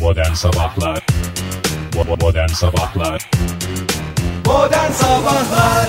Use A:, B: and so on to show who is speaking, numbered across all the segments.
A: Modern Sabahlar Bo- Modern Sabahlar
B: Modern Sabahlar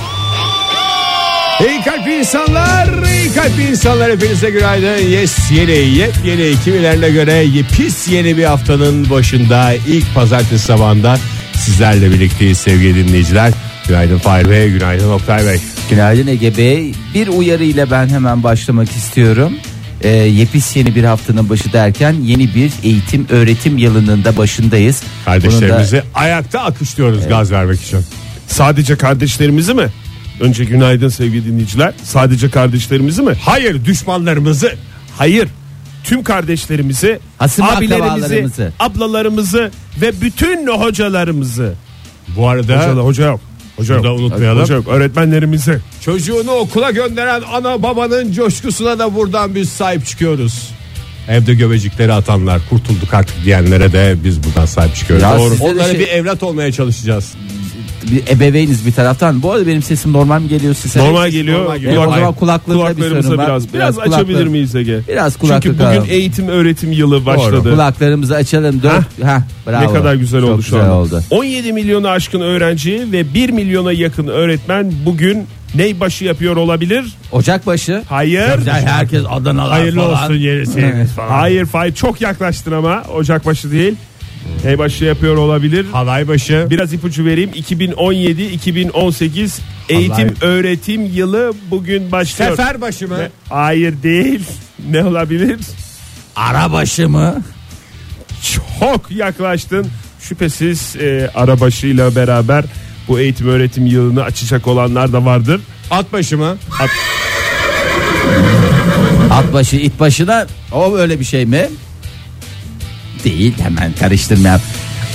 C: İyi kalp insanlar, iyi kalp insanlar hepinize günaydın. Yes yeni, yepyeni kimilerine göre pis yeni bir haftanın başında ilk pazartesi sabahında sizlerle birlikteyiz sevgili dinleyiciler. Günaydın Fahir Bey, günaydın Oktay Bey.
D: Günaydın Ege Bey. Bir uyarı ile ben hemen başlamak istiyorum. Ee, yepis yeni bir haftanın başı derken yeni bir eğitim öğretim yılının da başındayız.
C: Kardeşlerimizi ayakta alkışlıyoruz gaz vermek için.
E: Sadece kardeşlerimizi mi? Önce günaydın sevgili dinleyiciler. Sadece kardeşlerimizi mi? Hayır düşmanlarımızı. Hayır. Tüm kardeşlerimizi,
D: Hasım
E: abilerimizi,
D: akrabalarımızı.
E: ablalarımızı ve bütün hocalarımızı.
C: Bu arada
E: Hocalar, hoca yok. Hoca
C: Bunu
E: yok.
C: da unutmayalım.
E: Hoca yok. Öğretmenlerimizi.
C: çocuğunu okula gönderen ana babanın coşkusuna da buradan biz sahip çıkıyoruz. Evde göbecikleri atanlar kurtulduk artık diyenlere de biz buradan sahip çıkıyoruz.
D: Ya
C: Doğru.
D: size de
C: Onlara
D: şey-
C: bir evlat olmaya çalışacağız.
D: Bir ebeveyniz bir taraftan. Bu arada benim sesim normal mi geliyor size?
E: Normal geliyor.
C: normal
D: geliyor.
E: Kulak-
D: O zaman kulaklarımda bir
E: kulaklarımıza
D: sorun var.
E: biraz,
D: Biraz
E: biraz açabilir
D: kulaklarım-
E: miyiz Ege?
D: Biraz
E: Çünkü
D: kulaklık
E: bugün
D: alalım.
E: eğitim öğretim yılı başladı.
D: Kulaklarımızı açalım. Dört. Heh, bravo.
E: Ne kadar güzel
D: Çok
E: oldu şu
D: güzel
E: anda.
D: oldu.
E: 17 milyonu aşkın öğrenci ve 1 milyona yakın öğretmen bugün ney başı yapıyor olabilir?
D: Ocakbaşı.
E: Hayır.
D: herkes Adanalar
E: Hayırlı
D: falan.
E: olsun yenisiniz falan. Hayır Fahir çok yaklaştın ama Ocakbaşı değil. Ney başı yapıyor olabilir.
C: Hmm. Halay başı.
E: Biraz ipucu vereyim. 2017-2018 eğitim
C: Vallahi-
E: öğretim yılı bugün başlıyor.
C: Seferbaşı mı?
E: Hayır değil. Ne olabilir?
D: Arabaşı mı?
E: Çok yaklaştın. Şüphesiz e, arabaşıyla beraber bu eğitim öğretim yılını açacak olanlar da vardır.
C: At başı mı?
D: Atbaşı, itbaşına o öyle bir şey mi? Değil hemen karıştırmayalım.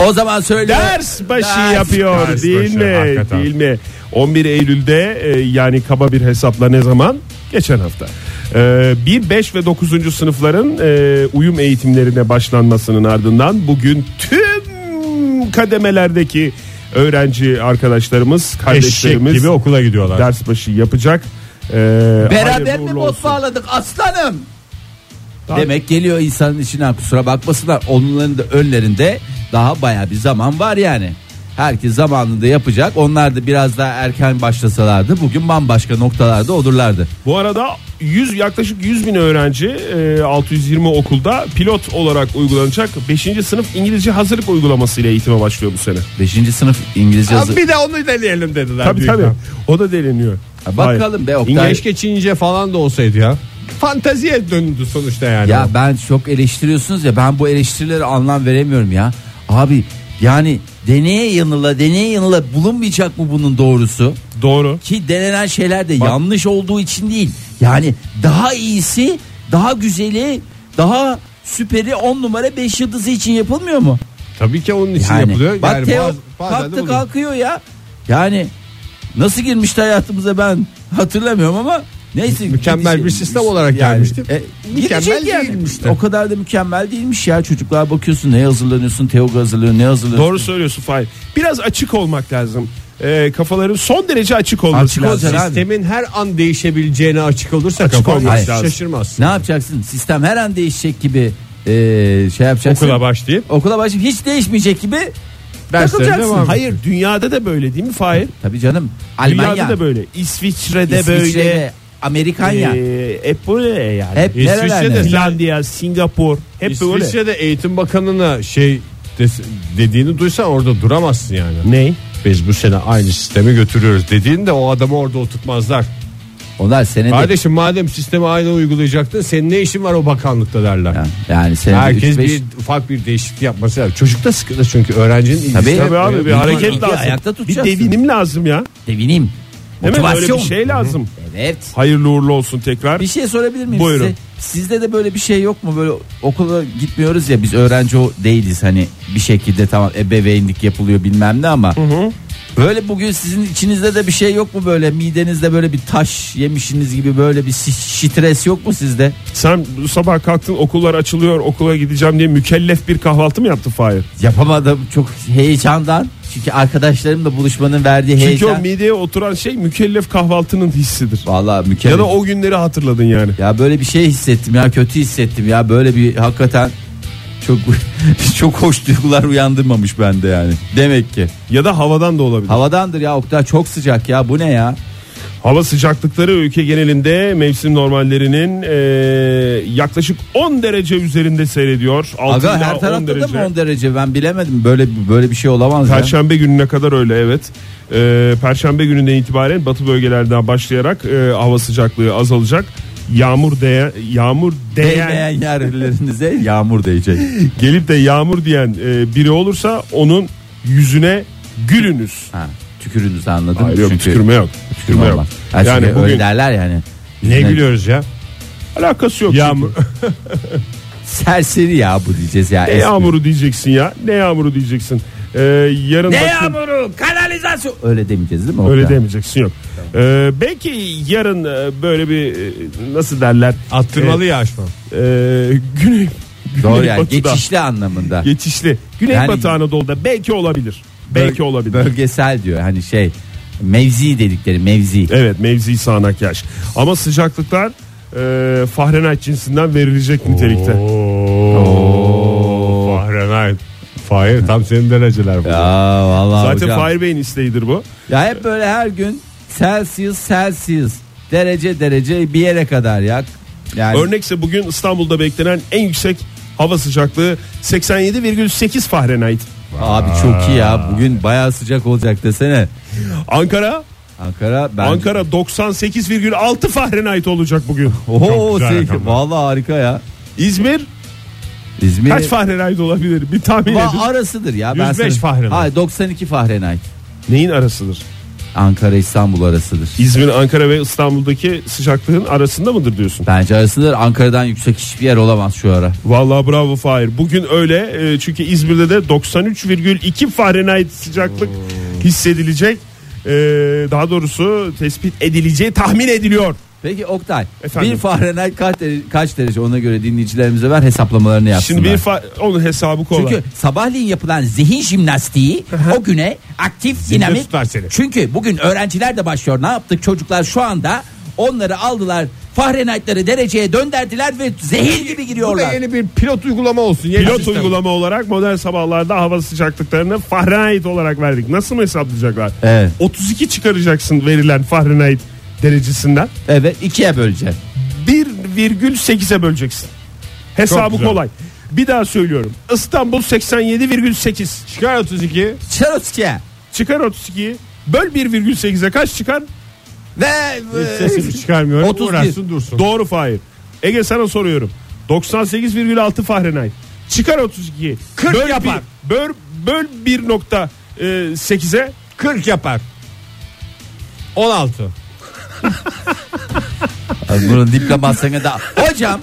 D: O zaman söyle.
E: Ders başı
D: Ders.
E: yapıyor
C: Ders
E: değil
C: başı,
E: mi?
C: hakikaten.
E: Değil mi? 11 Eylül'de e, yani kaba bir hesapla ne zaman? Geçen hafta. E, 1, 5 ve 9. sınıfların e, uyum eğitimlerine başlanmasının ardından bugün tüm kademelerdeki öğrenci arkadaşlarımız,
C: Eşek
E: kardeşlerimiz
C: gibi okula gidiyorlar.
E: ders başı yapacak. E,
D: Beraber
E: hayırlı
D: mi
E: uğurlu
D: bot
E: olsun.
D: bağladık aslanım?
E: Tabii.
D: Demek geliyor insanın içinden kusura bakmasınlar. Onların da önlerinde daha baya bir zaman var yani. Herkes zamanında yapacak. Onlar da biraz daha erken başlasalardı bugün bambaşka noktalarda olurlardı.
E: Bu arada 100 yaklaşık 100 bin öğrenci e, 620 okulda pilot olarak uygulanacak 5. sınıf İngilizce hazırlık uygulaması ile eğitime başlıyor bu sene.
D: 5. sınıf İngilizce
C: Abi
D: yazı.
C: bir de onu deneyelim dediler.
E: Tabii
C: büyükler.
E: tabii. O da deleniyor.
D: Ha, bakalım be Oktay.
E: İngiliz-
C: Keşke Çince falan da olsaydı ya. Fanteziye döndü sonuçta yani.
D: Ya ben çok eleştiriyorsunuz ya ben bu eleştirilere anlam veremiyorum ya. Abi yani deneye yanıla deneye yanıla bulunmayacak mı bunun doğrusu?
E: Doğru.
D: Ki denenen şeyler de yanlış olduğu için değil. Yani daha iyisi daha güzeli daha süperi 10 numara 5 yıldızı için yapılmıyor mu?
C: Tabii ki onun için
D: Şey Yani,
C: yapılıyor.
D: bak
C: yani
D: Teo
C: baz- bazen de
D: kalktı
C: oluyor.
D: kalkıyor ya. Yani nasıl girmişti hayatımıza ben hatırlamıyorum ama neyse.
C: Mükemmel
D: gidecek-
C: bir sistem olarak gelmişti. Mükemmel
D: gidecek e, yani.
C: değilmişti.
D: O kadar da mükemmel değilmiş ya çocuklar bakıyorsun ne hazırlanıyorsun Teog hazırlıyor ne hazırlanıyorsun.
E: Doğru söylüyorsun Fahir. Biraz açık olmak lazım. E, kafaların son derece açık olması
D: Açık
E: lazım.
D: olacak abi.
C: Sistemin her an değişebileceğine açık olursa
E: Açık
C: kafan
E: olmak
C: hiç
D: lazım.
C: şaşırmaz.
D: Ne yapacaksın sistem her an değişecek gibi e, şey yapacaksın.
E: Okula başlayıp
D: Okula başlayıp hiç değişmeyecek gibi takılacaksın.
C: devam.
E: Hayır dünyada da böyle değil mi Fahir?
D: Tabii canım
E: Dünyada
D: Almanya,
E: da böyle. İsviçre'de böyle.
D: İsviçre, Amerikanya.
E: Ee, hep böyle yani.
D: Hep
C: İsviçre'de
D: nerelerde?
C: sen-
E: Finlandiya, Singapur hep böyle.
C: İsviçre'de Eğitim Bakanı'na şey des- dediğini duysan orada duramazsın yani.
E: Ney?
C: Biz bu sene aynı sistemi götürüyoruz dediğinde o adamı orada oturtmazlar.
D: Onlar senede
C: Kardeşim madem sistemi aynı uygulayacaktın senin ne işin var o bakanlıkta derler.
D: yani, yani senede
C: Herkes
D: üç, beş-
C: bir ufak bir değişiklik yapması lazım. Çocuk da sıkılır çünkü öğrencinin ilgisi.
D: Tabii.
E: Tabii abi bir
D: Ee,
E: hareket
D: iki
E: lazım.
D: ayakta
E: bir
D: tutacaksın.
E: devinim lazım ya.
D: devineyim.
E: Değil mi? Öyle
D: Motivasyon.
E: bir şey lazım.
D: Evet.
E: Hayırlı uğurlu olsun tekrar.
D: Bir şey sorabilir miyim
E: Buyurun.
D: size? Sizde de böyle bir şey yok mu? Böyle okula gitmiyoruz ya biz öğrenci o- değiliz hani bir şekilde tamam ebeveynlik yapılıyor bilmem ne ama. Böyle bugün sizin içinizde de bir şey yok mu böyle midenizde böyle bir taş yemişiniz gibi böyle bir si- stres yok mu sizde?
E: Sen bu sabah kalktın okullar açılıyor okula gideceğim diye mükellef bir kahvaltı mı yaptın Fahir?
D: Yapamadım çok heyecandan çünkü arkadaşlarımla buluşmanın verdiği
E: Çünkü o
D: heyecan.
E: mideye oturan şey mükellef kahvaltının hissidir.
D: Vallahi
E: Ya
D: mükemmel.
E: da o günleri hatırladın yani.
D: Ya böyle bir şey hissettim ya kötü hissettim ya böyle bir hakikaten Çok çok hoş duygular uyandırmamış bende yani. Demek ki.
E: Ya da havadan da olabilir.
D: Havadandır ya Oktay çok sıcak ya bu ne ya?
E: Hava sıcaklıkları ülke genelinde mevsim normallerinin e, yaklaşık 10 derece üzerinde seyrediyor. Altında
D: Aga her
E: 10
D: tarafta da
E: derece.
D: mı 10 derece ben bilemedim böyle böyle bir şey olamaz ya.
E: Perşembe gününe kadar öyle evet. Ee, Perşembe gününden itibaren batı bölgelerden başlayarak e, hava sıcaklığı azalacak. Yağmur değe yağmur değen
D: Değmeyen yerlerinize yağmur değecek.
E: gelip de yağmur diyen e, biri olursa onun yüzünü gülünüz.
D: Ha, tükürünüz anladım.
E: Hayır yok
C: şey.
D: Çünkü
E: tükürme yok. Tükürme yok.
D: normal. Ha, çünkü
E: Yani
D: öyle
E: bugün
D: derler yani.
C: Ne gülüyoruz ya?
E: alakası yok.
C: Yağmur.
D: Serseri ya bu diyeceğiz ya.
E: Ne
D: Espri.
E: yağmuru diyeceksin ya? Ne yağmuru diyeceksin? Ee, yarın
D: Ne
E: bakın-
D: yağmuru kanalizasyon. Öyle demeyeceğiz değil mi? Oktay?
E: Öyle demeyeceksin yok. Ee, belki yarın e, böyle bir e, nasıl derler?
C: Attırmalı yağış mı?
E: Ee, güney
D: Doğru
E: güney
D: yani
E: batıda.
D: geçişli anlamında.
E: Geçişli. Güneybatı
D: Yani-
E: Anadolu'da belki olabilir. Belki
D: Böl-
E: olabilir.
D: Bölgesel diyor hani şey mevzi dedikleri mevzi.
E: Evet mevzi sağanak yaş. Ama sıcaklıklar e, Fahrenheit cinsinden verilecek nitelikte.
C: Oo. Fahrenheit. Fahir tam senin dereceler bu.
D: Ya vallahi
E: Zaten
D: hocam.
E: Fahir Bey'in isteğidir bu.
D: Ya hep böyle her gün Celsius Celsius derece derece bir yere kadar ya. Yani
E: Örnekse bugün İstanbul'da beklenen en yüksek hava sıcaklığı 87,8 Fahrenheit.
D: abi çok iyi ya bugün bayağı sıcak olacak desene.
E: Ankara
D: Ankara ben
E: Ankara 98,6 Fahrenheit olacak bugün.
C: Çok
D: Oho
C: güzel
D: sevgi-
C: rakamlar.
D: vallahi harika ya.
E: İzmir
D: İzmir
E: kaç Fahrenheit olabilir? Bir tahmin
D: Va-
E: edin.
D: arasıdır ya.
C: 105
D: sana-
C: Fahrenheit.
D: Hayır 92 Fahrenheit.
E: Neyin arasıdır?
D: Ankara İstanbul arasıdır.
E: İzmir, Ankara ve İstanbul'daki sıcaklığın arasında mıdır diyorsun?
D: Bence arasıdır. Ankara'dan yüksek hiçbir yer olamaz şu ara.
E: Vallahi bravo Fahir. Bugün öyle e, çünkü İzmir'de de 93,2 Fahrenheit sıcaklık
D: Hmm.
E: hissedilecek. E, Daha doğrusu tespit edileceği tahmin ediliyor.
D: Peki Oktay
E: Efendim?
D: bir Fahrenheit kaç derece, kaç derece ona göre dinleyicilerimize ver hesaplamalarını yapsınlar.
E: Şimdi bir fa- onun hesabı kolay.
D: Çünkü sabahleyin yapılan zihin jimnastiği o güne aktif dinamik.
C: tutar seni.
D: Çünkü bugün öğrenciler de başlıyor. Ne yaptık çocuklar şu anda onları aldılar Fahrenheit'leri dereceye dönderdiler ve zehir gibi
C: Bu da
D: giriyorlar.
C: yeni bir pilot uygulama olsun. Yeni
E: Pilot
C: sistem.
E: uygulama olarak modern sabahlarda hava sıcaklıklarını Fahrenheit olarak verdik. Nasıl mı hesaplayacaklar?
D: Evet.
E: 32 çıkaracaksın verilen Fahrenheit derecesinden.
D: Evet ikiye böleceğim.
E: 1,8'e böleceksin.
C: Çok
E: Hesabı
C: güzel.
E: kolay. Bir daha söylüyorum. İstanbul 87,8.
C: Çıkar 32.
D: Çarosya
E: Çıkar 32'yi. Böl 1,8'e kaç çıkar?
D: ve e,
C: Sesimi çıkarmıyorum.
D: 31.
C: Uğraşsın dursun.
E: Ee, Doğru Fahir. Ege sana soruyorum. 98,6 Fahrenheit. Çıkar 32'yi.
C: 40
E: böl
C: yapar.
E: Bir, böl, böl e, 1.8'e
C: 40 yapar. 16.
D: Abi Bunun diplomasını da hocam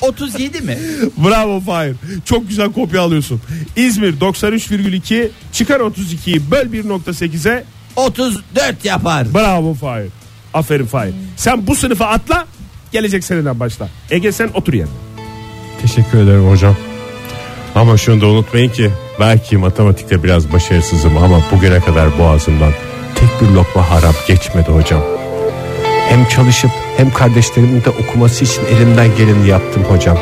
D: 37 mi?
E: Bravo Fahir. Çok güzel kopya alıyorsun. İzmir 93,2 çıkar 32'yi böl 1.8'e
D: 34 yapar.
E: bravo Fahir. Aferin Fahir. Sen bu sınıfa atla gelecek seneden başla. Ege sen otur yerine.
C: Teşekkür ederim hocam. Ama şunu da unutmayın ki belki matematikte biraz başarısızım ama bugüne kadar boğazımdan tek bir lokma harap geçmedi hocam. Hem çalışıp hem kardeşlerimin de okuması için elimden geleni yaptım hocam.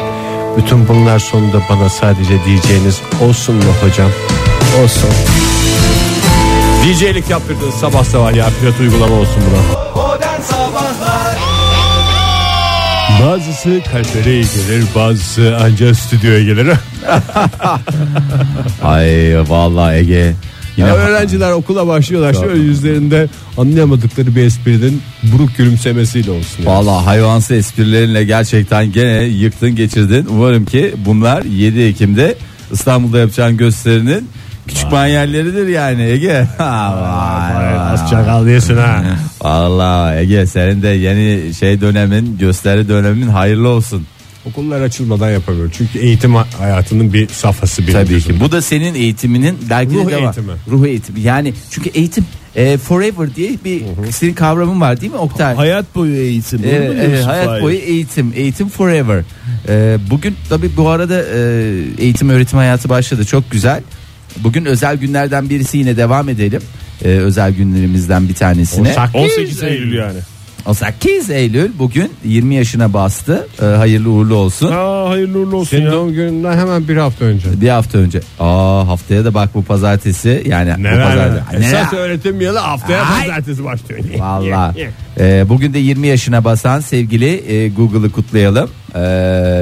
C: Bütün bunlar sonunda bana sadece diyeceğiniz olsun mu hocam? Olsun. DJ'lik yaptırdınız sabah sabah ya pilot uygulama olsun buna.
B: Modern Sabahlar
C: Bazısı kalplere iyi gelir bazısı ancak stüdyoya gelir.
D: Ay vallahi Ege. Yine
C: Ya öğrenciler okula başlıyorlar. Şöyle yüzlerinde anlayamadıkları bir esprinin buruk gülümsemesiyle olsun. yani.
D: Valla hayvansı esprilerinle gerçekten gene yıktın geçirdin. Umarım ki bunlar 7 Ekim'de İstanbul'da yapacağın gösterinin küçük manyerleridir yani Ege.
C: Az çakal diyorsun ha.
D: Valla Ege senin de yeni şey dönemin gösteri dönemin hayırlı olsun.
C: Okullar açılmadan yapamıyor. Çünkü eğitim hayatının bir safhası bir.
D: Tabii ki. Bu da senin eğitiminin belki
C: Ruh
D: de devam-
C: eğitimi.
D: Ruh eğitimi. Yani çünkü eğitim e, forever diye bir senin kavramın var değil mi Oktay?
E: Hayat boyu eğitim.
D: Ee, evet, hayat boyu eğitim, eğitim forever. Ee, bugün tabii bu arada e, eğitim öğretim hayatı başladı. Çok güzel. Bugün özel günlerden E, birisi yine devam edelim. Ee, özel günlerimizden bir tanesine.
E: 18 Eylül yani.
D: 8 Eylül bugün 20 yaşına bastı. Ee, hayırlı uğurlu olsun.
E: Aa, hayırlı uğurlu olsun
C: Senin
E: ya.
C: doğum gününden hemen bir hafta önce.
D: Bir hafta önce. Aa haftaya da bak bu pazartesi yani bu pazartesi. Ay, neler?
C: Esas öğretim yılı haftaya pazartesi başlıyor.
D: Valla. Ee, bugün de 20 yaşına basan sevgili e, Google'ı kutlayalım. Ee,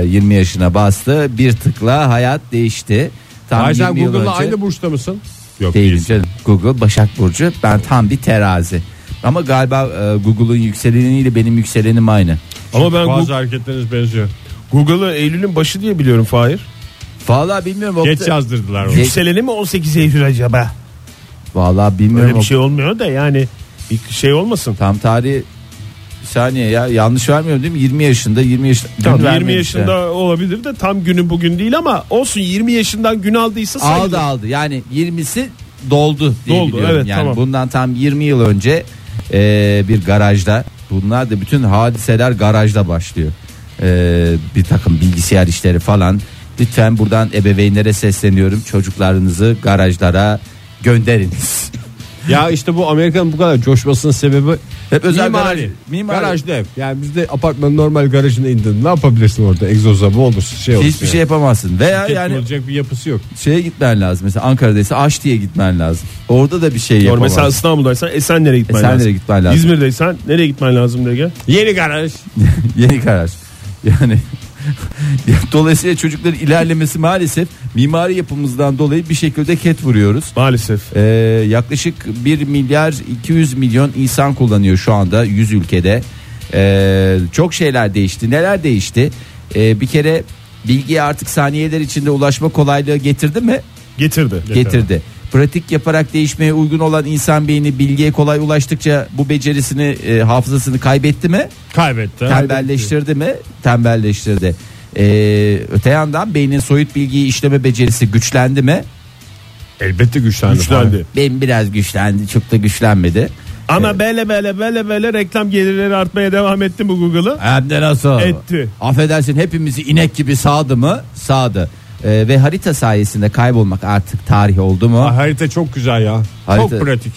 D: 20 yaşına bastı. Bir tıkla hayat değişti. Tam
C: Ay
D: 20
C: sen
D: yıl
C: Google'la
D: önce-
C: aynı burçta mısın?
A: Yok
D: Değilim
A: değilsin.
D: canım. Google Başak Burcu. Ben tam bir terazi. Ama galiba e, Google'ın yükseleniyle benim yükselenim aynı.
E: Ama ben
C: Bazı
E: Goog-
C: hareketleriniz benziyor.
E: Google'ı Eylül'ün başı diye biliyorum Fahir.
D: Valla bilmiyorum. o-
C: Geç yazdırdılar onu.
D: Geç-
E: Yükseleni mi 18 Eylül acaba?
D: Valla bilmiyorum.
E: Öyle bir
D: o-
E: şey olmuyor da yani bir şey olmasın.
D: Tam tarihi bir saniye ya yanlış vermiyorum değil mi? 20 yaşında 20 yaşında.
E: Tam 20
D: Gün vermemiş de.
E: yaşında olabilir de tam günü bugün değil ama olsun 20 yaşından gün aldıysa sayılır.
D: Aldı aldı yani 20'si doldu diye
E: Doldu,
D: biliyorum.
E: evet,
D: yani
E: tamam.
D: bundan tam 20 yıl önce e, bir garajda bunlar da bütün hadiseler garajda başlıyor. E, bir takım bilgisayar işleri falan. Lütfen buradan ebeveynlere sesleniyorum. Çocuklarınızı garajlara gönderiniz.
C: Ya işte bu Amerika'nın bu kadar coşmasının sebebi
D: Hep özel garaj-
C: mimari.
D: mimari.
C: Garajlı ev. Yani bizde apartmanın normal garajına indin. Ne yapabilirsin orada? Egzoza bu olur. Şey olur.
D: Hiçbir şey yapamazsın. Veya yani
C: olacak bir yapısı yok.
D: şeye gitmen lazım. Mesela Ankara'daysa Aş diye gitmen lazım. Orada da bir şey
E: Doğru,
D: yapamazsın.
E: mesela İstanbul'daysan Esenler'e E,
C: E,
E: gitmen
D: Esenler'e
E: lazım.
D: gitmen lazım.
E: İzmir'deysen nereye gitmen lazım Dege?
C: Yeni garaj.
D: Yeni karar. Yani dolayısıyla çocukların ilerlemesi maalesef mimari yapımızdan dolayı bir şekilde ket vuruyoruz.
E: Maalesef.
D: Ee, yaklaşık 1 milyar 200 milyon insan kullanıyor şu anda 100 ülkede. Ee, çok şeyler değişti. Neler değişti? Ee, bir kere bilgiye artık saniyeler içinde ulaşma kolaylığı getirdi mi?
E: Getirdi.
D: getirdi. Pratik yaparak değişmeye uygun olan insan beyni bilgiye kolay ulaştıkça bu becerisini, e, hafızasını kaybetti mi?
E: Kaybetti.
D: Tembelleştirdi mi? Tembelleştirdi. E, öte yandan beynin soyut bilgiyi işleme becerisi güçlendi mi?
C: Elbette güçlendi.
E: Güçlendi.
D: Benim biraz güçlendi, çok da güçlenmedi.
E: Ama böyle böyle böyle böyle reklam gelirleri artmaya devam etti bu Google'ı.
D: Hem de nasıl?
E: Etti.
D: Affedersin hepimizi inek gibi sağdı mı? Sağdı. E, ve harita sayesinde kaybolmak artık tarih oldu mu?
C: Aa, harita çok güzel ya.
D: Harita-
C: Çok pratik.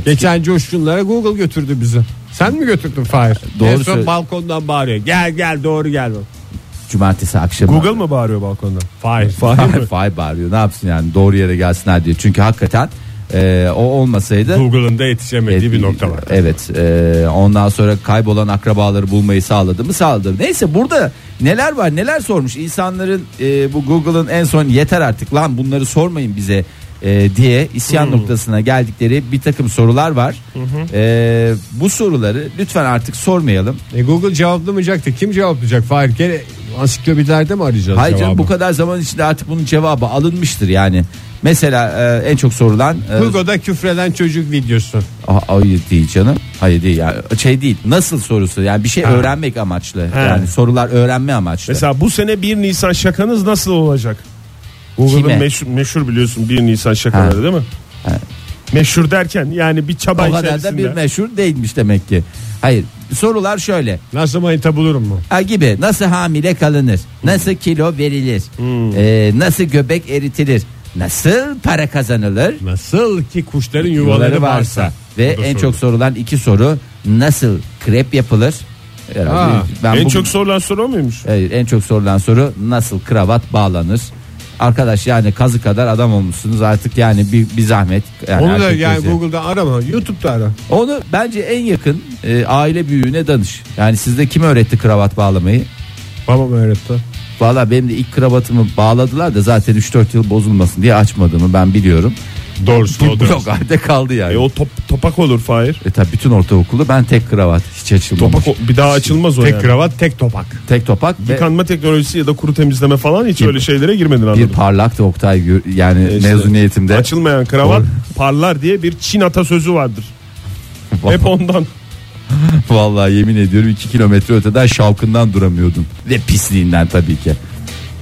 D: E,
C: Geçen coşkunlara Google götürdü bizi. Sen mi götürdün Fahir?
D: E, Doğru
C: en son
D: söyle-
C: balkondan bağırıyor. Gel gel doğru gel.
D: cumartesi akşamı.
E: Google mı bağırıyor balkondan?
C: Fahir.
D: Fahir Fahir bağırıyor ne yapsın yani doğru yere gelsinler diyor. Çünkü hakikaten e, o olmasaydı
C: Google'ın da yetişemediği bir nokta var.
D: Evet. e, ondan sonra kaybolan akrabaları bulmayı sağladı mı? Sağladı. Neyse burada neler var? Neler sormuş insanların e, bu Google'ın en son yeter artık lan bunları sormayın bize e, diye isyan
C: Hmm.
D: noktasına geldikleri bir takım sorular var. E, bu soruları lütfen artık sormayalım.
C: E Google cevaplamayacaktı. Kim cevaplayacak Fahir? Gene ansiklopedilerde mi arayacağız
D: Hayır canım,
C: cevabı?
D: bu kadar zaman içinde artık bunun cevabı alınmıştır yani. Mesela e, en çok sorulan e,
C: Google'da küfreden çocuk videosu.
D: Aa, Hayır değil canım. Hayır değil yani şey değil. Nasıl sorusu yani bir şey öğrenmek amaçlı. Yani sorular öğrenme amaçlı.
E: Mesela bu sene 1 Nisan şakanız nasıl olacak?
D: Kime?
E: Google'ın meşhur, meşhur biliyorsun 1 Nisan şakaları
D: Ha.
E: değil mi? Meşhur derken yani bir çaba
D: o kadar da
E: içerisinde.
D: bir meşhur değilmiş demek ki. Hayır sorular şöyle
C: Nasıl manita bulurum mu?
D: ha, gibi nasıl hamile kalınır
E: Hmm.
D: nasıl kilo verilir Ee, nasıl göbek eritilir nasıl para kazanılır
C: Nasıl ki kuşların
D: Soruları
C: yuvaları varsa.
D: ve
C: Bu da
D: en
C: soru.
D: çok sorulan iki soru nasıl krep yapılır Herhalde
C: Aa,
D: ben
E: en
D: bugün-
E: çok sorulan soru o muymuş?
D: Hayır, en çok sorulan soru nasıl kravat bağlanır? Arkadaş yani kazı kadar adam olmuşsunuz artık yani bir, bir zahmet. Yani
C: Onu da
D: erkek
C: yani
D: gözü.
C: Google'da arama. YouTube'da ara.
D: Onu bence en yakın e, aile büyüğüne danış. Yani sizde kim öğretti kravat bağlamayı?
C: Babam öğretti.
D: Valla benim de ilk kravatımı bağladılar da zaten 3-4 yıl bozulmasın diye açmadığımı ben biliyorum.
E: Doğrusu
D: Bu blok halde kaldı yani.
E: E
D: E,
E: o top, topak olur Fahir.
D: tabi bütün ortaokulu ben tek kravat hiç açılmamış.
E: Topak o- bir daha açılmaz o
C: Tek
E: yani.
C: kravat tek topak.
D: Tek topak ve
E: Yıkanma teknolojisi ya da kuru temizleme falan hiç
D: Bir-
E: öyle şeylere girmedin
D: bir
E: anladım.
D: parlaktı Oktay gö- yani
E: E işte.
D: mezuniyetimde.
E: Açılmayan kravat parlar diye bir Çin atasözü vardır. Hep ondan.
D: Vallahi yemin ediyorum 2 kilometre öteden şavkından duramıyordum. Ve pisliğinden tabii ki.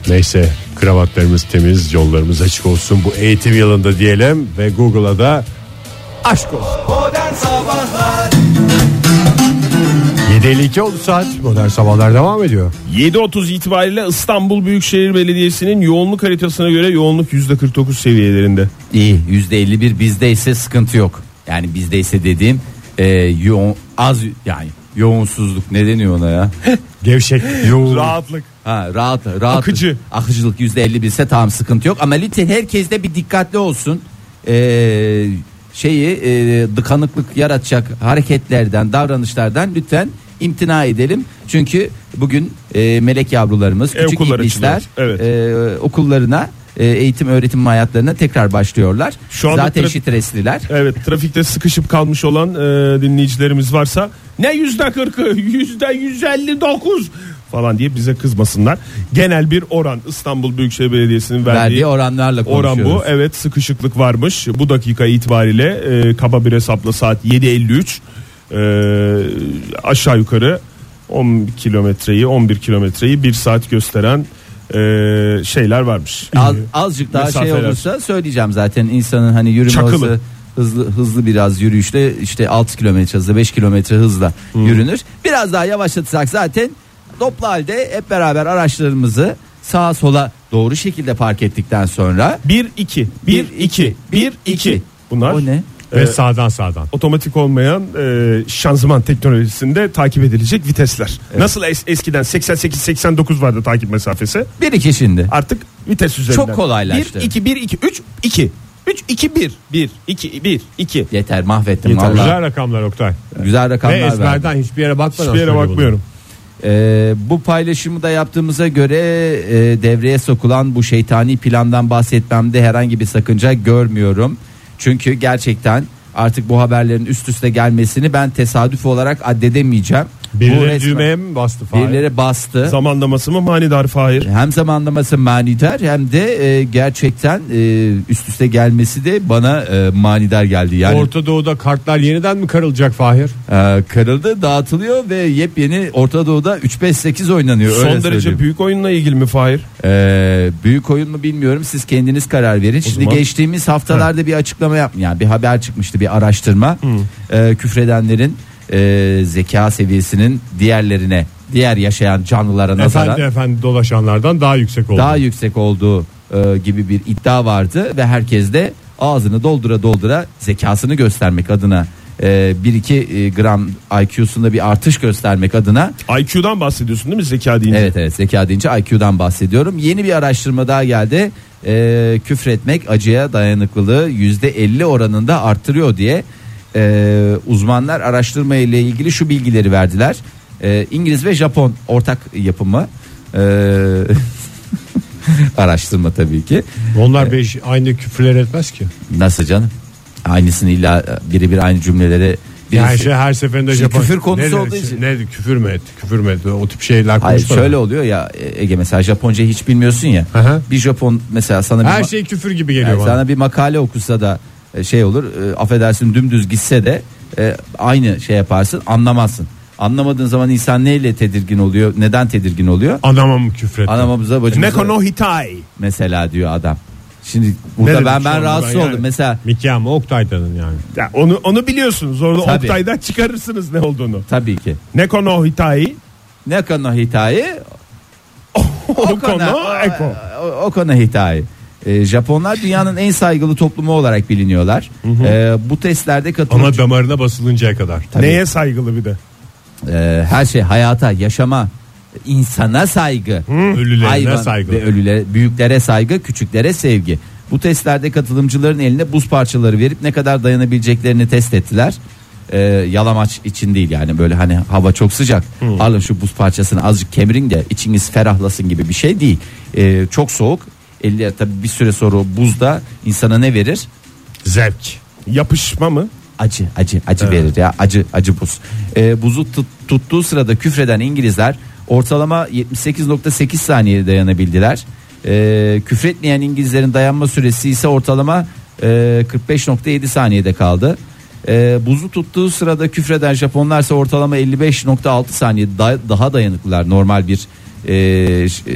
C: Neyse kravatlarımız temiz yollarımız açık olsun bu eğitim yılında diyelim ve Google'a da aşk olsun.
B: Modern Sabahlar
C: 7.52 oldu saat modern sabahlar devam ediyor.
E: 7.30 itibariyle İstanbul Büyükşehir Belediyesi'nin yoğunluk haritasına göre yoğunluk %49 seviyelerinde.
D: İyi %51 bizde ise sıkıntı yok. Yani bizde ise dediğim e, e, yoğun az yani yoğunsuzluk ne deniyor ona ya?
C: Gevşek. Yoğun.
E: Rahatlık.
D: Ha, rahat, rahat.
E: Akıcı.
D: Akıcılık yüzde elli bilse tamam sıkıntı yok. Ama lütfen herkes de bir dikkatli olsun. Ee, şeyi e, dıkanıklık yaratacak hareketlerden, davranışlardan lütfen imtina edelim. Çünkü bugün e, melek yavrularımız,
E: E,
D: küçük
E: okullar
D: iblisler
E: açılıyor. Evet.
D: e, okullarına, e, eğitim öğretim hayatlarına tekrar başlıyorlar.
E: Şu anda
D: Zaten
E: traf-
D: stresliler.
E: Evet trafikte sıkışıp kalmış olan e, dinleyicilerimiz varsa ne yüzde kırkı yüzde yüz elli dokuz falan diye bize kızmasınlar. Genel bir oran İstanbul Büyükşehir Belediyesi'nin verdiği
D: Verdiği oranlarla
E: Oran
D: konuşuyoruz.
E: bu. Evet sıkışıklık varmış. Bu dakika itibariyle e, kaba bir hesapla saat 7.53 e, aşağı yukarı 10 kilometreyi 11 kilometreyi bir saat gösteren e, şeyler varmış.
D: Az, azıcık daha
E: Mesafeler.
D: şey olursa söyleyeceğim zaten insanın hani yürüme
E: Çakılı.
D: hızı hızlı hızlı biraz yürüyüşle işte 6 kilometre hızla 5 kilometre hızla yürünür. Biraz daha yavaşlatırsak zaten toplu halde hep beraber araçlarımızı sağa sola doğru şekilde park ettikten sonra
E: 1 2 1 2 1 2 Bunlar
D: o ne?
C: Ve sağdan sağdan.
E: otomatik olmayan e, şanzıman teknolojisinde takip edilecek vitesler. Nasıl es- eskiden 88 89 vardı takip mesafesi.
D: Bir iki şimdi.
E: artık vites üzerinden.
D: Çok kolaylaştı.
E: 1 2 1 2 3 2 3 2 1 1 2 1 2.
D: Yeter mahvettim
E: Yeter.
D: vallahi.
C: Güzel
D: Güzel,
C: rakamlar Oktay. Ve
D: rakamlar verdim.
C: ezberden hiçbir yere bakmadan.
E: Hiçbir yere
C: söyle bunu.
E: bakmıyorum.
D: Ee, bu paylaşımı da yaptığımıza göre e, devreye sokulan bu şeytani plandan bahsetmemde herhangi bir sakınca görmüyorum. Çünkü gerçekten artık bu haberlerin üst üste gelmesini ben tesadüf olarak addedemeyeceğim. bu
C: Birileri
D: resmen-
C: düğmeye mi bastı falan?
D: birileri bastı.
E: Zamanlaması mı manidar Fahir?
D: hem zamanlaması manidar hem de e, gerçekten e, üst üste gelmesi de bana e, manidar geldi. Yani
C: Orta Doğu'da kartlar yeniden mi karılacak Fahir?
D: e, kırıldı, dağıtılıyor ve yepyeni Orta Doğu'da 3-5-8 oynanıyor.
E: Son
D: öyle
E: derece
D: söyleyeyim.
E: büyük oyunla ilgili mi Fahir?
D: Ee, büyük oyun mu bilmiyorum siz kendiniz karar verin. Şimdi
E: zaman-
D: geçtiğimiz haftalarda bir açıklama yap yani bir haber çıkmıştı bir araştırma. Ee, küfredenlerin e, zeka seviyesinin diğerlerine diğer yaşayan canlılara nazaran
C: Efendi efendi dolaşanlardan daha yüksek oldu.
D: daha yüksek olduğu e, gibi bir iddia vardı ve herkes de ağzını doldura doldura zekasını göstermek adına e, 1-2 gram IQ'sunda bir artış göstermek adına
E: IQ'dan bahsediyorsun değil mi zeka deyince?
D: Evet evet zeka deyince IQ'dan bahsediyorum. Yeni bir araştırma daha geldi. Ee, küfretmek acıya dayanıklılığı %50 oranında arttırıyor diye ee, uzmanlar araştırma ile ilgili şu bilgileri verdiler. Ee, İngiliz ve Japon ortak yapımı Ee, araştırma tabii ki.
C: Onlar beş, aynı küfürler etmez ki.
D: Nasıl canım? Aynısını illa birebir aynı cümleleri birisi-
C: Yani şey her seferinde
D: Şimdi
C: Japon.
D: küfür konusu
C: ne,
D: olduğu için.
C: Ne, küfür mü etti küfür mü etti o tip şeyler
D: Hayır
C: konuşmadı.
D: şöyle oluyor ya Ege mesela Japonca hiç bilmiyorsun ya.
C: Aha.
D: Bir Japon mesela sana bir
C: Her
D: ma-
C: şey küfür gibi geliyor
D: Yani
C: bana.
D: sana bir makale okusa da e, şey olur e, affedersin dümdüz gitse de e, aynı şey yaparsın anlamazsın. Anlamadığın zaman insan neyle tedirgin oluyor neden tedirgin oluyor?
C: Anama mı küfür etti?
D: Anamamıza bacımıza
E: Neko no hitai.
D: mesela diyor adam. Şimdi
C: Ne
D: burada
C: dedim
D: ben
C: şu
D: ben
C: anda
D: rahatsız
C: ben
D: oldum.
C: yani?
D: Mesela
C: Mikya mı Oktay'danın yani.
E: Ya onu onu biliyorsunuz. Orada
D: Tabii.
E: Oktay'dan çıkarırsınız ne olduğunu.
D: tabii ki
E: Neko no hitai.
D: ne konu hitayi
E: Oko no
D: Okona-
E: eko.
D: O- Okona Hitai. Ee, Japonlar dünyanın en saygılı toplumu olarak biliniyorlar. Ee, bu testlerde
C: Ama
D: katılımcı
C: damarına basılıncaya kadar.
D: Tabii.
E: Neye saygılı bir de?
D: Ee, her şey hayata, yaşama, insana saygı,
C: Ölülerine
D: hayvan
C: saygı.
D: ve ölüle, büyüklere saygı, küçüklere sevgi. Bu testlerde katılımcıların eline buz parçaları verip ne kadar dayanabileceklerini test ettiler. Ee, yalamaç için değil yani böyle hani hava çok sıcak. Alın şu buz parçasını azıcık kemirin de içiniz ferahlasın gibi bir şey değil. Ee, çok soğuk. Elle tabii bir süre sonra o buzda insana ne verir?
C: Zevk.
E: Yapışma mı?
D: acı acı acı verir ya acı acı buz. Ee, buzu tut- tuttuğu sırada küfreden İngilizler ortalama 78.8 saniye dayanabildiler. Ee, küfretmeyen İngilizlerin dayanma süresi ise ortalama e, 45.7 saniyede kaldı. Ee, buzu tuttuğu sırada küfreden Japonlar ise ortalama 55.6 saniye da- daha dayanıklılar normal bir e, ş- e,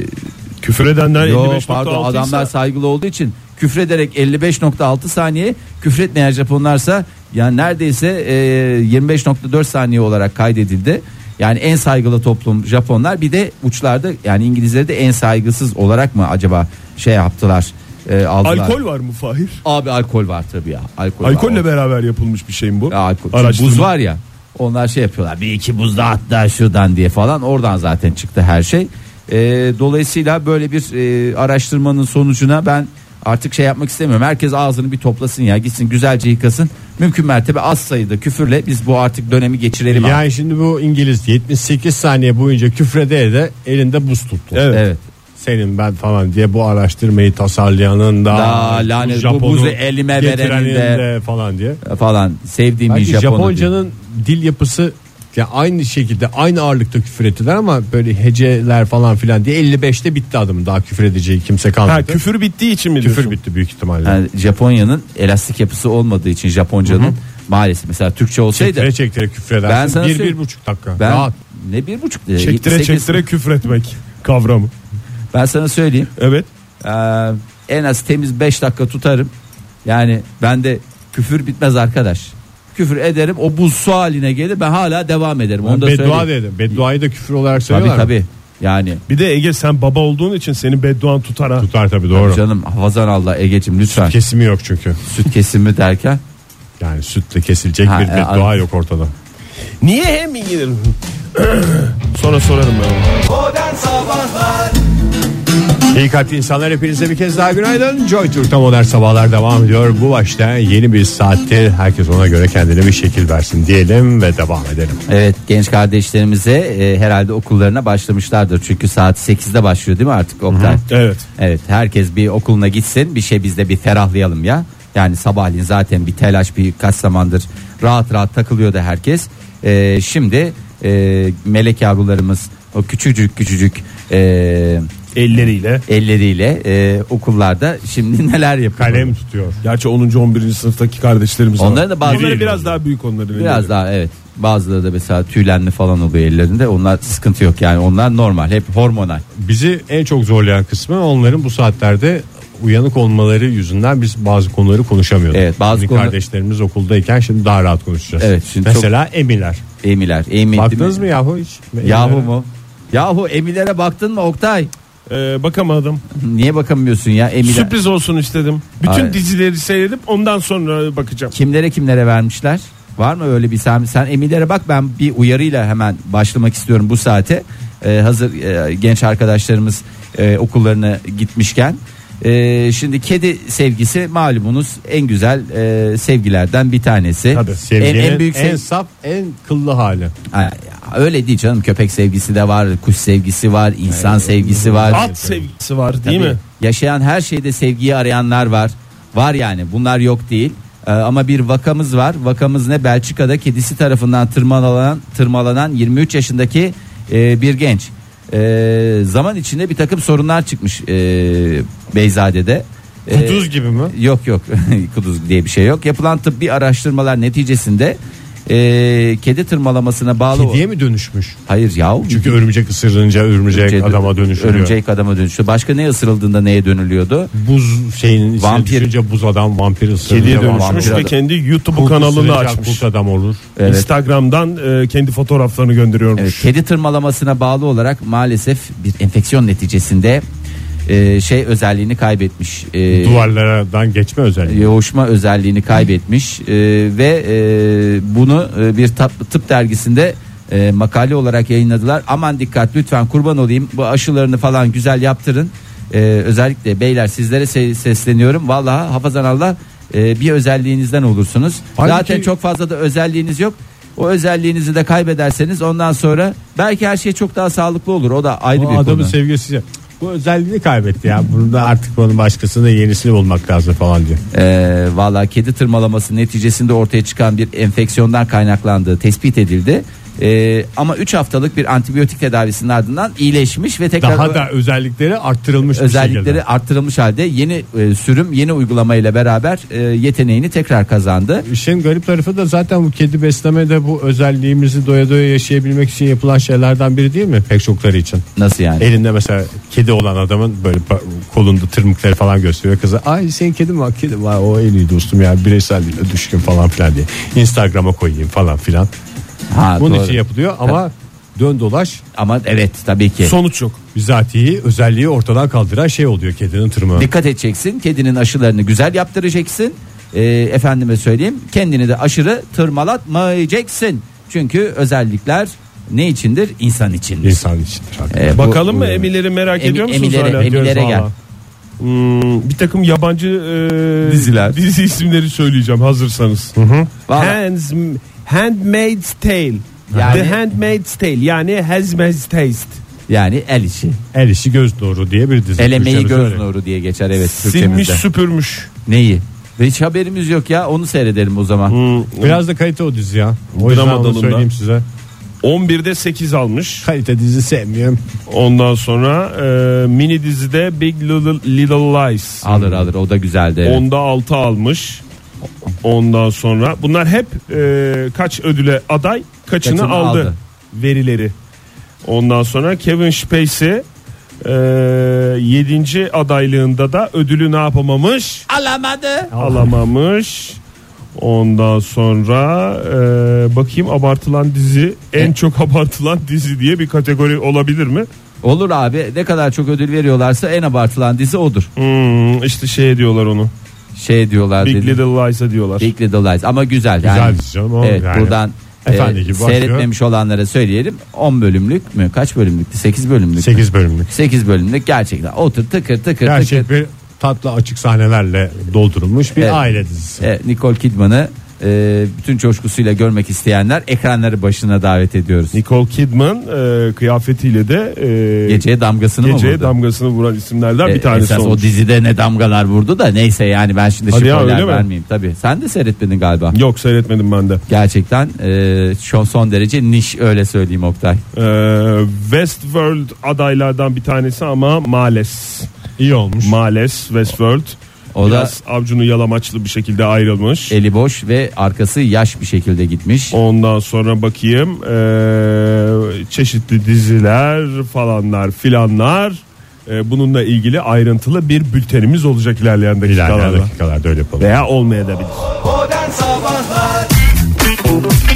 E: Küfür edenler
D: Yo,
E: 55.6
D: pardon
E: ise-
D: adamlar saygılı olduğu için küfrederek 55.6 saniye küfretmeyen Japonlarsa yani neredeyse e, 25.4 saniye olarak kaydedildi. Yani en saygılı toplum Japonlar bir de uçlarda yani İngilizleri de en saygısız olarak mı acaba şey yaptılar e, aldılar.
E: Alkol var mı Fahir?
D: Abi alkol var tabii ya. Alkol var.
E: Alkolle beraber yapılmış bir şey mi bu?
D: Ya alkol. Çünkü
E: Araştırma.
D: Buz var ya. Onlar şey yapıyorlar. Bir iki buz da hatta şuradan diye falan. Oradan zaten çıktı her şey. Ee, dolayısıyla böyle bir e, araştırmanın sonucuna ben artık şey yapmak istemiyorum. Herkes ağzını bir toplasın ya. Gitsin güzelce yıkasın. Mümkün mertebe az sayıda küfürle biz bu artık dönemi geçirelim. abi.
C: Yani şimdi bu İngiliz 78 saniye boyunca küfrede de elinde buz tuttu.
E: Evet.
D: Evet.
C: Senin ben falan diye bu araştırmayı tasarlayanın da,
D: Da lanet bu
C: Japon'u
D: buzu elime
C: getirenin
D: verenin
C: de falan diye.
D: Falan sevdiğim bir
C: Belki
D: Japonu.
C: Japonca'nın dil yapısı ya aynı şekilde aynı ağırlıkta küfür ettiler ama böyle heceler falan filan diye 55'te bitti adamın daha küfür edeceği kimse kalmadı.
E: Ha küfür bittiği için mi
C: küfür
E: diyorsun?
C: bitti büyük ihtimalle.
D: Yani Japonya'nın elastik yapısı olmadığı için Japonca'nın maalesef mesela Türkçe olsaydı
C: Çektire çektire küfür
D: Ben
C: edersin.
D: sana
C: Bir, bir
D: söyleyeyim.
C: buçuk dakika.
D: ben
C: Rahat.
D: ne bir buçuk lira,
E: Çektire
D: 78
E: çektire küfür etmek kavramı.
D: Ben sana söyleyeyim
E: Evet.
D: Ee, en az temiz 5 dakika tutarım. Yani bende küfür bitmez arkadaş. Küfür ederim o buz su haline gelir ben hala devam ederim. Onu da
C: Beddua
D: söyleyeyim.
C: dedim. Bedduayı da küfür olarak
D: Tabii
C: söylüyorlar.
D: tabii. Yani
E: Bir de Ege sen baba olduğun için senin bedduan tutar ha.
C: Tutar tabii doğru.
D: canım hafazan Allah Ege'cim lütfen süt,
C: Kesimi yok çünkü.
D: kesimi derken
C: Yani sütle kesilecek
D: Ha,
C: bir
D: e,
C: beddua
D: anladım.
C: yok ortada.
E: Niye hem İngiliz? Sonra sorarım ben. ona.
B: Modern Sabahlar
C: İyi kalpli insanlar hepinize bir kez daha günaydın. Joy Türk'te modern sabahlar devam ediyor. Bu başta yeni bir saatte herkes ona göre kendine bir şekil versin diyelim ve devam edelim.
D: Evet genç kardeşlerimize e, herhalde okullarına başlamışlardır. Çünkü saat 8'de başlıyor değil mi artık Oktay?
E: Evet.
D: Evet herkes bir okuluna gitsin bir şey biz de bir ferahlayalım ya. Yani sabahleyin zaten bir telaş bir kaç zamandır rahat rahat takılıyordu herkes. E, şimdi e, melek yavrularımız o küçücük küçücük e,
E: Elleriyle.
D: elleriyle e, okullarda şimdi neler yapıyor?
C: Kalem tutuyor.
E: Gerçi 10. 11. sınıftaki kardeşlerimiz var.
D: Onların da bazı-
E: Onları biraz daha büyük onların.
D: Biraz
E: elleri.
D: daha evet. Bazıları da mesela tüylenme falan oluyor ellerinde. Onlar sıkıntı yok yani. Onlar normal. Hep hormonal.
C: Bizi en çok zorlayan kısmı onların bu saatlerde uyanık olmaları yüzünden biz bazı konuları konuşamıyorduk.
D: Evet, bazı
C: Bizim
D: konu-
C: kardeşlerimiz okuldayken şimdi daha rahat konuşacağız.
D: Evet, şimdi
C: Mesela emiler.
D: Emiler. Emi,
C: Baktınız mı yahu hiç?
D: Yahu mu? Yahu Emilere baktın mı Oktay?
E: Ee, bakamadım.
D: Niye bakamıyorsun ya Emiler?
E: Sürpriz olsun istedim. Bütün
D: Hayır.
E: dizileri seyredip ondan sonra bakacağım.
D: Kimlere kimlere vermişler? Var mı öyle bir sen, sen Emilere bak ben bir uyarıyla hemen başlamak istiyorum bu saate. Ee, hazır e, genç arkadaşlarımız e, okullarına gitmişken. Ee, şimdi kedi sevgisi malumunuz en güzel e, sevgilerden bir tanesi.
C: Tabii.
D: En,
C: Sevginin en,
D: en büyük sev-
C: saf, en kıllı hali.
D: Ay, öyle değil canım köpek sevgisi de var kuş sevgisi var insan sevgisi var
E: At sevgisi var değil
D: Tabii.
E: mi?
D: yaşayan her şeyde sevgiyi arayanlar var var yani bunlar yok değil Ee, ama bir vakamız var vakamız ne Belçika'da kedisi tarafından tırmalanan tırmalanan 23 yaşındaki e, bir genç Ee, zaman içinde bir takım sorunlar çıkmış e, Beyzade'de Ee,
C: Kuduz gibi mi?
D: Yok yok kuduz diye bir şey yok. Yapılan tıbbi araştırmalar neticesinde e, kedi tırmalamasına bağlı.
C: Kediye mi dönüşmüş?
D: Hayır yahu.
C: Çünkü örümcek ısırınca örümcek, adama dönüşülüyor.
D: Örümcek adama dönüşüyor. Başka ne ısırıldığında neye dönülüyordu?
C: Buz şeyin içine
D: Vampir.
C: düşünce buz adam vampir ısırınca
E: Kediye
C: vampir
E: dönüşmüş
D: Vampir
E: ve
D: adam.
E: kendi YouTube
C: Kurt
E: kanalını
C: ısırınca
E: açmış.
C: Kurt adam olur.
D: Evet.
E: Instagram'dan e, kendi fotoğraflarını
D: Evet,
E: gönderiyormuş.
D: kedi tırmalamasına bağlı olarak maalesef bir enfeksiyon neticesinde e, şey özelliğini kaybetmiş. E,
C: Duvarlardan geçme özelliği.
D: yoğuşma özelliğini kaybetmiş e, ve e, bunu e, bir tıp, tıp dergisinde e, makale olarak yayınladılar. Aman dikkat lütfen kurban olayım bu aşılarını falan güzel yaptırın. E, özellikle beyler sizlere se- sesleniyorum. Vallahi hafazan Allah e, bir özelliğinizden olursunuz.
C: Halbuki-
D: Zaten çok fazla da özelliğiniz yok. O özelliğinizi de kaybederseniz ondan sonra belki her şey çok daha sağlıklı olur. O da ayrı
C: Bu
D: bir
C: adamın
D: konu.
C: sevgisi ya, bu özelliğini kaybetti ya. Burada artık bunun başkasını yenisini bulmak lazım falan diyor.
D: Ee, Valla kedi tırmalaması neticesinde ortaya çıkan bir enfeksiyondan kaynaklandığı tespit edildi. Ee, ama 3 haftalık bir antibiyotik tedavisinin ardından iyileşmiş ve tekrar
C: Daha
D: ö-
C: da özellikleri arttırılmış bir
D: özellikleri
C: şekilde.
D: arttırılmış halde yeni e, sürüm yeni uygulamayla beraber e, yeteneğini tekrar kazandı.
C: İşin garip tarafı da zaten bu kedi besleme de bu özelliğimizi doya doya yaşayabilmek için yapılan şeylerden biri değil mi pek çokları için?
D: Nasıl yani?
C: Elinde mesela kedi olan adamın böyle pa- kolunda tırmıkları falan gösteriyor kıza. Ay senin kedin var kedim var o en iyi dostum ya bireyselliğine düşkün falan filan diye. Instagram'a koyayım falan filan.
D: Ha,
C: Bunun
D: doğru.
C: için yapılıyor ama dön dolaş
D: Ama evet tabii ki.
E: Sonuç yok.
C: bizatihi özelliği ortadan kaldıran şey oluyor kedinin tırmağı.
D: Dikkat edeceksin. Kedinin aşılarını güzel yaptıracaksın. Ee, efendime söyleyeyim. Kendini de aşırı tırmalatmayacaksın. Çünkü özellikler ne içindir? İnsan içindir.
C: İnsan içindir. hakikaten.
D: Ee, bu-
E: Bakalım mı
D: bu-
E: Emileri merak
D: Emi-
E: ediyor musunuz
D: Emilere-
E: hala? Diyoruz
D: Emilere gel.
E: valla. Hmm, bir takım yabancı e,
D: Diziler.
E: dizi isimleri söyleyeceğim hazırsanız.
D: Vallahi-
E: Hands, Handmaid's Tale.
D: Yani-
E: The Handmaid's Tale yani Hazmaid's Taste.
D: Yani el işi.
C: El işi göz nuru diye bir dizi.
D: Elemeyi
C: Türkçemiz
D: göz
C: öyle.
D: nuru diye geçer evet
E: Silmiş
D: Türkçemizde.
E: süpürmüş.
D: Neyi? Ve hiç haberimiz yok ya onu seyredelim o zaman.
C: Hmm. Biraz da kalite o dizi ya. O yüzden
E: Drama
C: onu
E: dalında.
C: söyleyeyim size.
E: 11'de 8 almış.
C: Kalite dizi sevmiyorum.
E: Ondan sonra e, mini dizide Big Little, Little Lies.
D: Alır alır o da güzeldi. evet.
E: Onda 6 almış. Ondan sonra bunlar hep e, kaç ödüle aday kaçını,
D: Kaçını
E: aldı,
D: aldı.
E: verileri. Ondan sonra Kevin Spacey e, 7. adaylığında da ödülü ne yapamamış?
D: Alamadı.
E: Alamamış. Ondan sonra e, bakayım abartılan dizi en çok abartılan dizi diye bir kategori olabilir mi?
D: Olur abi ne kadar çok ödül veriyorlarsa en abartılan dizi odur.
E: Hmm, işte şey diyorlar onu.
D: Şey diyorlar
E: Big
D: dedi.
E: Little Lies'a diyorlar.
D: Big Little Lies ama güzel.
C: Güzel
D: yani.
C: dizi canım, o
D: Evet
C: yani.
D: buradan
C: Efendi
D: e,
C: gibi başlıyor.
D: seyretmemiş olanlara söyleyelim 10 bölümlük mü kaç bölümlüktü 8 bölümlük
C: 8 bölümlük.
D: 8 bölümlük gerçekten otur tıkır tıkır tıkır
C: Gerçek bir tatlı açık sahnelerle doldurulmuş bir
D: Evet.
C: aile dizisi.
D: E, Nicole Kidman'ı e, bütün coşkusuyla görmek isteyenler ekranları başına davet ediyoruz.
E: Nicole Kidman e, kıyafetiyle de e,
D: Geceye damgasını mı
E: geceye
D: vurdu?
E: damgasını vuran isimlerden
D: E,
E: bir tanesi
D: esas
E: olmuş.
D: o dizide ne damgalar vurdu da neyse yani ben şimdi
E: Hadi ya,
D: spoiler
E: öyle mi?
D: vermeyeyim tabi. Sen de seyretmedin galiba.
E: Yok seyretmedim ben de.
D: Gerçekten e, şu son derece niş öyle söyleyeyim Oktay.
E: E, Westworld adaylardan bir tanesi ama males.
C: İyi olmuş.
E: Males Westworld.
D: O da E-
E: Biraz avcunu yalamaçlı bir şekilde ayrılmış.
D: eli boş ve arkası yaş bir şekilde gitmiş.
E: Ondan sonra bakayım e, çeşitli diziler falanlar filanlar. E, bununla ilgili ayrıntılı bir bültenimiz olacak ilerleyen
C: İlerleyen
E: dakikalarda.
C: dakikalarda öyle yapalım.
E: Veya olmayabilir.
B: Modern Sabahlar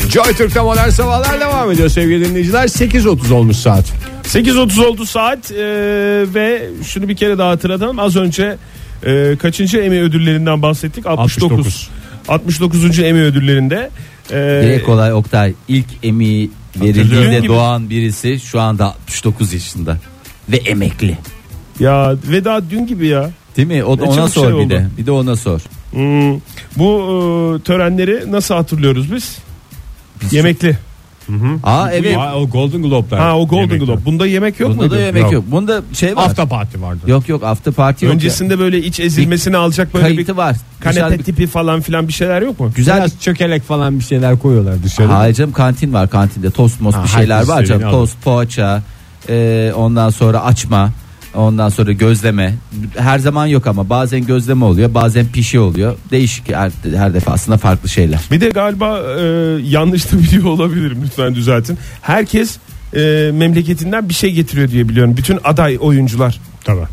C: Joy Türk'te modern sabahlar devam ediyor sevgili dinleyiciler. 8.30 olmuş saat.
E: 8.30 oldu saat e, ve şunu bir kere daha hatırlatalım. Az önce e, kaçıncı Emmy ödüllerinden bahsettik? 69.
C: 69.
E: 69. Emmy ödüllerinde e,
D: Direkt kolay Oktay ilk emeği
E: Hatırlıyorum
D: verildiğinde
E: gibi.
D: doğan birisi şu anda 69 yaşında ve emekli.
E: ya ve daha dün gibi ya.
D: Değil mi? O da
E: Ne
D: ona
E: çabuk
D: sor
E: şey
D: bir
E: oldu.
D: de. Bir de ona sor.
E: Hmm, bu e, törenleri nasıl hatırlıyoruz biz? Yemekli.
D: Aa evet.
C: Aa, o Golden Globe'lar.
E: Ha o Golden
C: Yemekler.
E: Globe. Bunda yemek yok
D: Bunda
E: muydu?
D: da yemek yok.
C: Yok.
D: Bunda şey var.
C: After party vardı.
D: Yok yok after party yok.
E: Öncesinde böyle iç ezilmesini alacak
D: ya.
E: böyle
D: kayıtı
E: bir
D: var. Güzel
E: kanepe
D: bir-
E: tipi falan filan bir şeyler yok mu?
D: Güzel bir
C: Biraz çökelek falan bir şeyler koyuyorlar dışarı.
D: Hayır canım kantin var kantinde tost most
C: Ha,
D: bir şeyler
C: herkes
D: var canım
C: istediğini
D: tost poğaça e, ondan sonra açma ondan sonra gözleme her zaman yok ama bazen gözleme oluyor bazen pişi oluyor değişik her, her defasında farklı şeyler.
E: Bir de galiba e, yanlış da biliyor olabilirim lütfen düzeltin. Herkes e, memleketinden bir şey getiriyor diye biliyorum. Bütün aday oyuncular,
C: Tabii.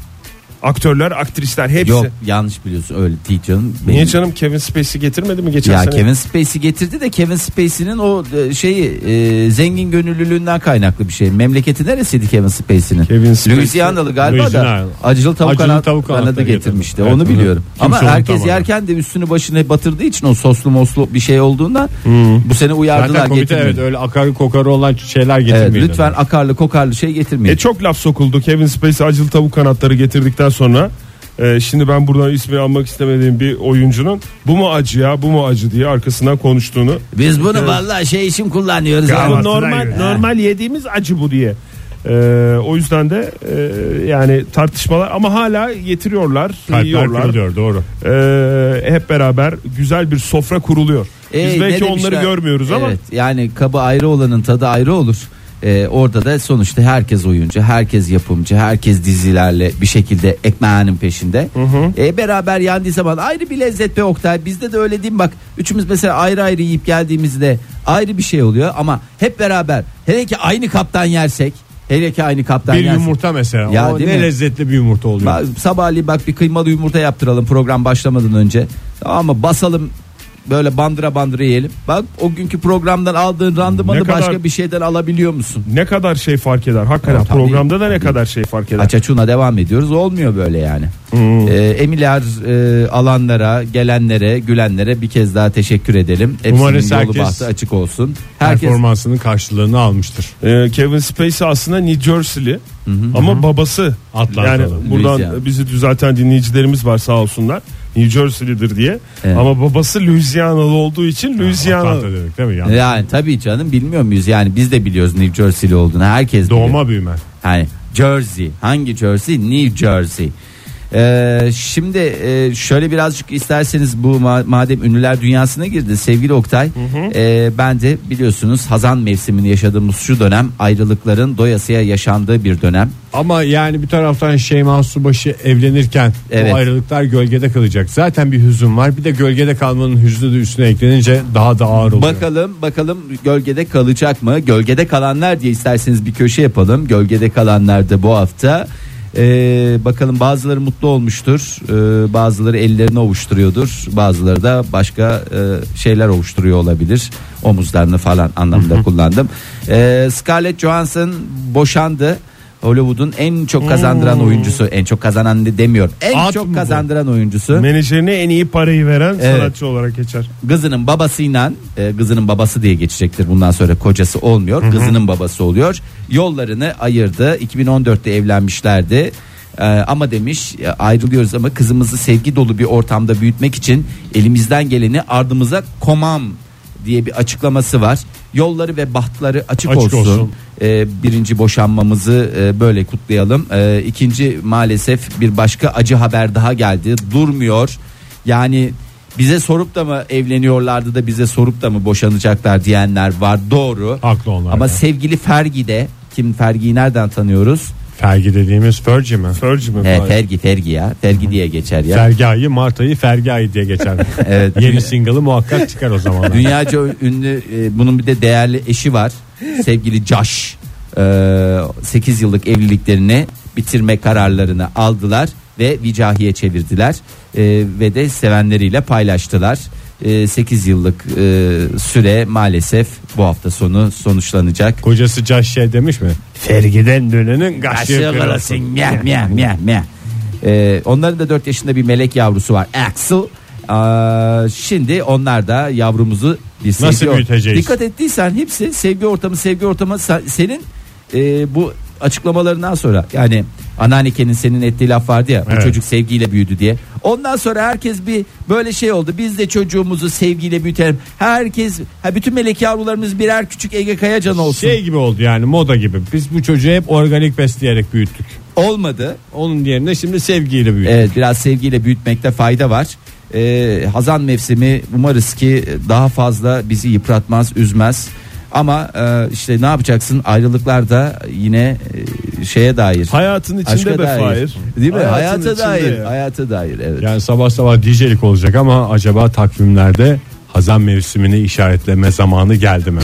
E: aktörler, aktrisler hepsi.
D: Yok yanlış biliyorsun öyle değil canım.
E: Niye
D: Benim-
E: canım Kevin Spacey getirmedi mi geçen
D: Ya
E: sene?
D: Kevin Spacey getirdi de Kevin Spacey'nin o e, şeyi e, zengin gönüllülüğünden kaynaklı bir şey. Memleketi neresiydi Kevin Spacey'nin?
E: Kevin Spacey-
D: Louisiana'lı galiba da
C: Louisiana.
D: acılı tavuk,
C: Acılı
D: kanat-
C: tavuk
D: kanadı
C: kanatları
D: getirmişti.
C: getirdi.
D: Onu
C: Evet,
D: biliyorum.
C: bunu
D: Ama
C: kimse
D: herkes
C: unutamadı.
D: yerken de üstünü başına batırdığı için o soslu moslu bir şey olduğundan bu sene uyardılar
C: Hmm. Zaten komite
D: getirmeyin.
C: evet öyle akarı kokarı olan şeyler
D: Evet,
C: getirmeyin.
D: lütfen akarlı kokarlı şey getirmeyin.
E: E çok laf sokuldu. Kevin Spacey acılı tavuk kanatları getirdikten sonra e, şimdi ben buradan ismi almak istemediğim bir oyuncunun bu mu acı ya bu mu acı diye arkasından konuştuğunu.
D: Biz bunu vallahi şey için kullanıyoruz.
E: Ya
D: abi.
E: bu normal normal yediğimiz acı bu diye. E, o yüzden de e, yani tartışmalar ama hala getiriyorlar,
C: Kalpler
E: yiyorlar.
C: kırılıyor doğru.
E: E, hep beraber güzel bir sofra kuruluyor. Biz
D: Ey,
E: belki
D: Ee, ne
E: onları
D: demişler?
E: görmüyoruz ama
D: Evet, yani kabı ayrı olanın tadı ayrı olur. Ee, orada da sonuçta herkes oyuncu, herkes yapımcı, herkes dizilerle bir şekilde ekmeğinin peşinde. Ee, beraber yandığı zaman ayrı bir lezzet be Oktay. Bizde de öyle değil mi? Bak üçümüz mesela ayrı ayrı yiyip geldiğimizde ayrı bir şey oluyor ama hep beraber hele ki aynı kaptan yersek hele ki aynı kaptan
C: Bir
D: yersek.
C: yumurta mesela.
D: Ya,
C: o
D: değil
C: ne
D: mi?
C: lezzetli bir yumurta oluyor.
D: Ba- Sabahleyin bak bir kıymalı yumurta yaptıralım program başlamadan önce. Ama basalım böyle bandıra bandıra yiyelim. Bak o günkü programdan aldığın randımanı
E: Ne kadar-
D: başka bir şeyden alabiliyor musun?
E: Ne kadar şey fark eder. Hakikaten
D: Tabii,
E: programda da ne kadar şey fark eder.
D: Açaçuna devam ediyoruz. Olmuyor böyle yani. Ee, Emiler e, alanlara, gelenlere, gülenlere bir kez daha teşekkür edelim. Hepsinin
C: Umarız
D: yolu
C: herkes-
D: bahtı açık olsun. Herkes
C: Performansının karşılığını almıştır.
E: Ee, Kevin Spacey aslında New Jersey'li ama babası
C: Atlanta'da.
E: yani buradan
D: Louisiana.
E: bizi düzelten dinleyicilerimiz var sağ olsunlar. New Jersey'lidir diye.
D: Evet.
E: Ama babası Louisiana'lı olduğu için Louisiana
C: Atlanta demek değil mi? Yani
D: yani tabii canım bilmiyor muyuz? Yani biz de biliyoruz New Jersey'li olduğunu. Herkes biliyor.
C: Doğma büyüme.
D: Yani Jersey. Hangi Jersey? New Jersey. Ee, şimdi e, şöyle birazcık isterseniz bu ma- madem ünlüler dünyasına girdi sevgili Oktay. e, ben de biliyorsunuz Hazan mevsimini yaşadığımız şu dönem ayrılıkların doyasıya yaşandığı bir dönem.
C: Ama yani bir taraftan Şeyma Subaşı evlenirken
D: Evet.
C: o ayrılıklar gölgede kalacak. Zaten bir hüzün var. Bir de gölgede kalmanın hüznü de üstüne eklenince daha da ağır oluyor.
D: Bakalım bakalım gölgede kalacak mı? Gölgede kalanlar diye isterseniz bir köşe yapalım. Gölgede kalanlar da bu hafta. Ee, bakalım bazıları mutlu olmuştur. Ee, bazıları ellerini ovuşturuyordur. Bazıları da başka e, şeyler ovuşturuyor olabilir. Omuzlarını falan anlamda kullandım. Ee, Scarlett Johansson boşandı. Hollywood'un en çok kazandıran oyuncusu. En çok kazanan de demiyorum. En
E: At mı
D: çok
E: bu?
D: kazandıran oyuncusu.
E: menajerine en iyi parayı veren
D: Evet.
E: sanatçı olarak geçer.
D: kızının babasıyla e, kızının babası diye geçecektir bundan sonra kocası olmuyor kızının babası oluyor yollarını ayırdı 2014'te evlenmişlerdi E, ama demiş e, ayrılıyoruz ama kızımızı sevgi dolu bir ortamda büyütmek için elimizden geleni ardımıza komam diye bir açıklaması var yolları ve bahtları açık,
E: Açık
D: olsun,
E: olsun.
D: E, birinci boşanmamızı e, böyle kutlayalım E, ikinci maalesef bir başka acı haber daha geldi durmuyor yani bize sorup da mı evleniyorlardı da bize sorup da mı boşanacaklar diyenler var doğru.
C: Haklı onlar.
D: Ama
C: da.
D: sevgili Fergi de kim Fergi'yi nereden tanıyoruz?
C: Fergi dediğimiz Fergie mi?
E: Fergie mi?
D: He, Fergi Fergi ya Fergi diye geçer ya.
C: Fergi ayı, Mart ayı, Fergi ayı diye geçer.
D: Evet.
C: Yeni single'ı muhakkak çıkar o zaman.
D: Dünyaca ünlü e, bunun bir de değerli eşi var sevgili Josh. E, 8 yıllık evliliklerini bitirme kararlarını aldılar ve vicahiye çevirdiler E, ve de sevenleriyle paylaştılar. 8 yıllık e, süre maalesef bu hafta sonu sonuçlanacak.
C: Kocası Caş şey demiş mi? Fergiden dönenin kaşığı kırılsın.
D: Meh, meh, meh, meh. Ee, onların da 4 yaşında bir melek yavrusu var. Axel. Aa, şimdi onlar da yavrumuzu bir sevgi
C: Nasıl
D: or-
C: büyüteceğiz?
D: Dikkat ettiysen hepsi sevgi ortamı sevgi ortamı Sa- senin e, bu açıklamalarından sonra yani anneannekenin senin ettiği laf vardı ya
C: Evet.
D: bu çocuk sevgiyle büyüdü diye. Ondan sonra herkes bir böyle şey oldu. Biz de çocuğumuzu sevgiyle büyütelim. Herkes ha bütün melek yavrularımız birer küçük Ege Kayacan olsun.
C: Şey gibi oldu yani moda gibi. Biz bu çocuğu hep organik besleyerek büyüttük.
D: Olmadı.
C: Onun yerine şimdi sevgiyle büyüttük.
D: Evet biraz sevgiyle büyütmekte fayda var. Ee, hazan mevsimi umarız ki daha fazla bizi yıpratmaz, üzmez. Ama e, işte ne yapacaksın ayrılıklar da yine e, şeye dair.
E: Hayatın içinde be
D: aşka dair.
E: Fahir.
D: Değil mi?
E: Hayatın
D: Hayata
E: içinde
D: dair.
E: ya.
D: Hayata dair evet.
C: Yani sabah sabah DJ'lik olacak ama acaba takvimlerde Hazan mevsimini işaretleme zamanı geldi mi?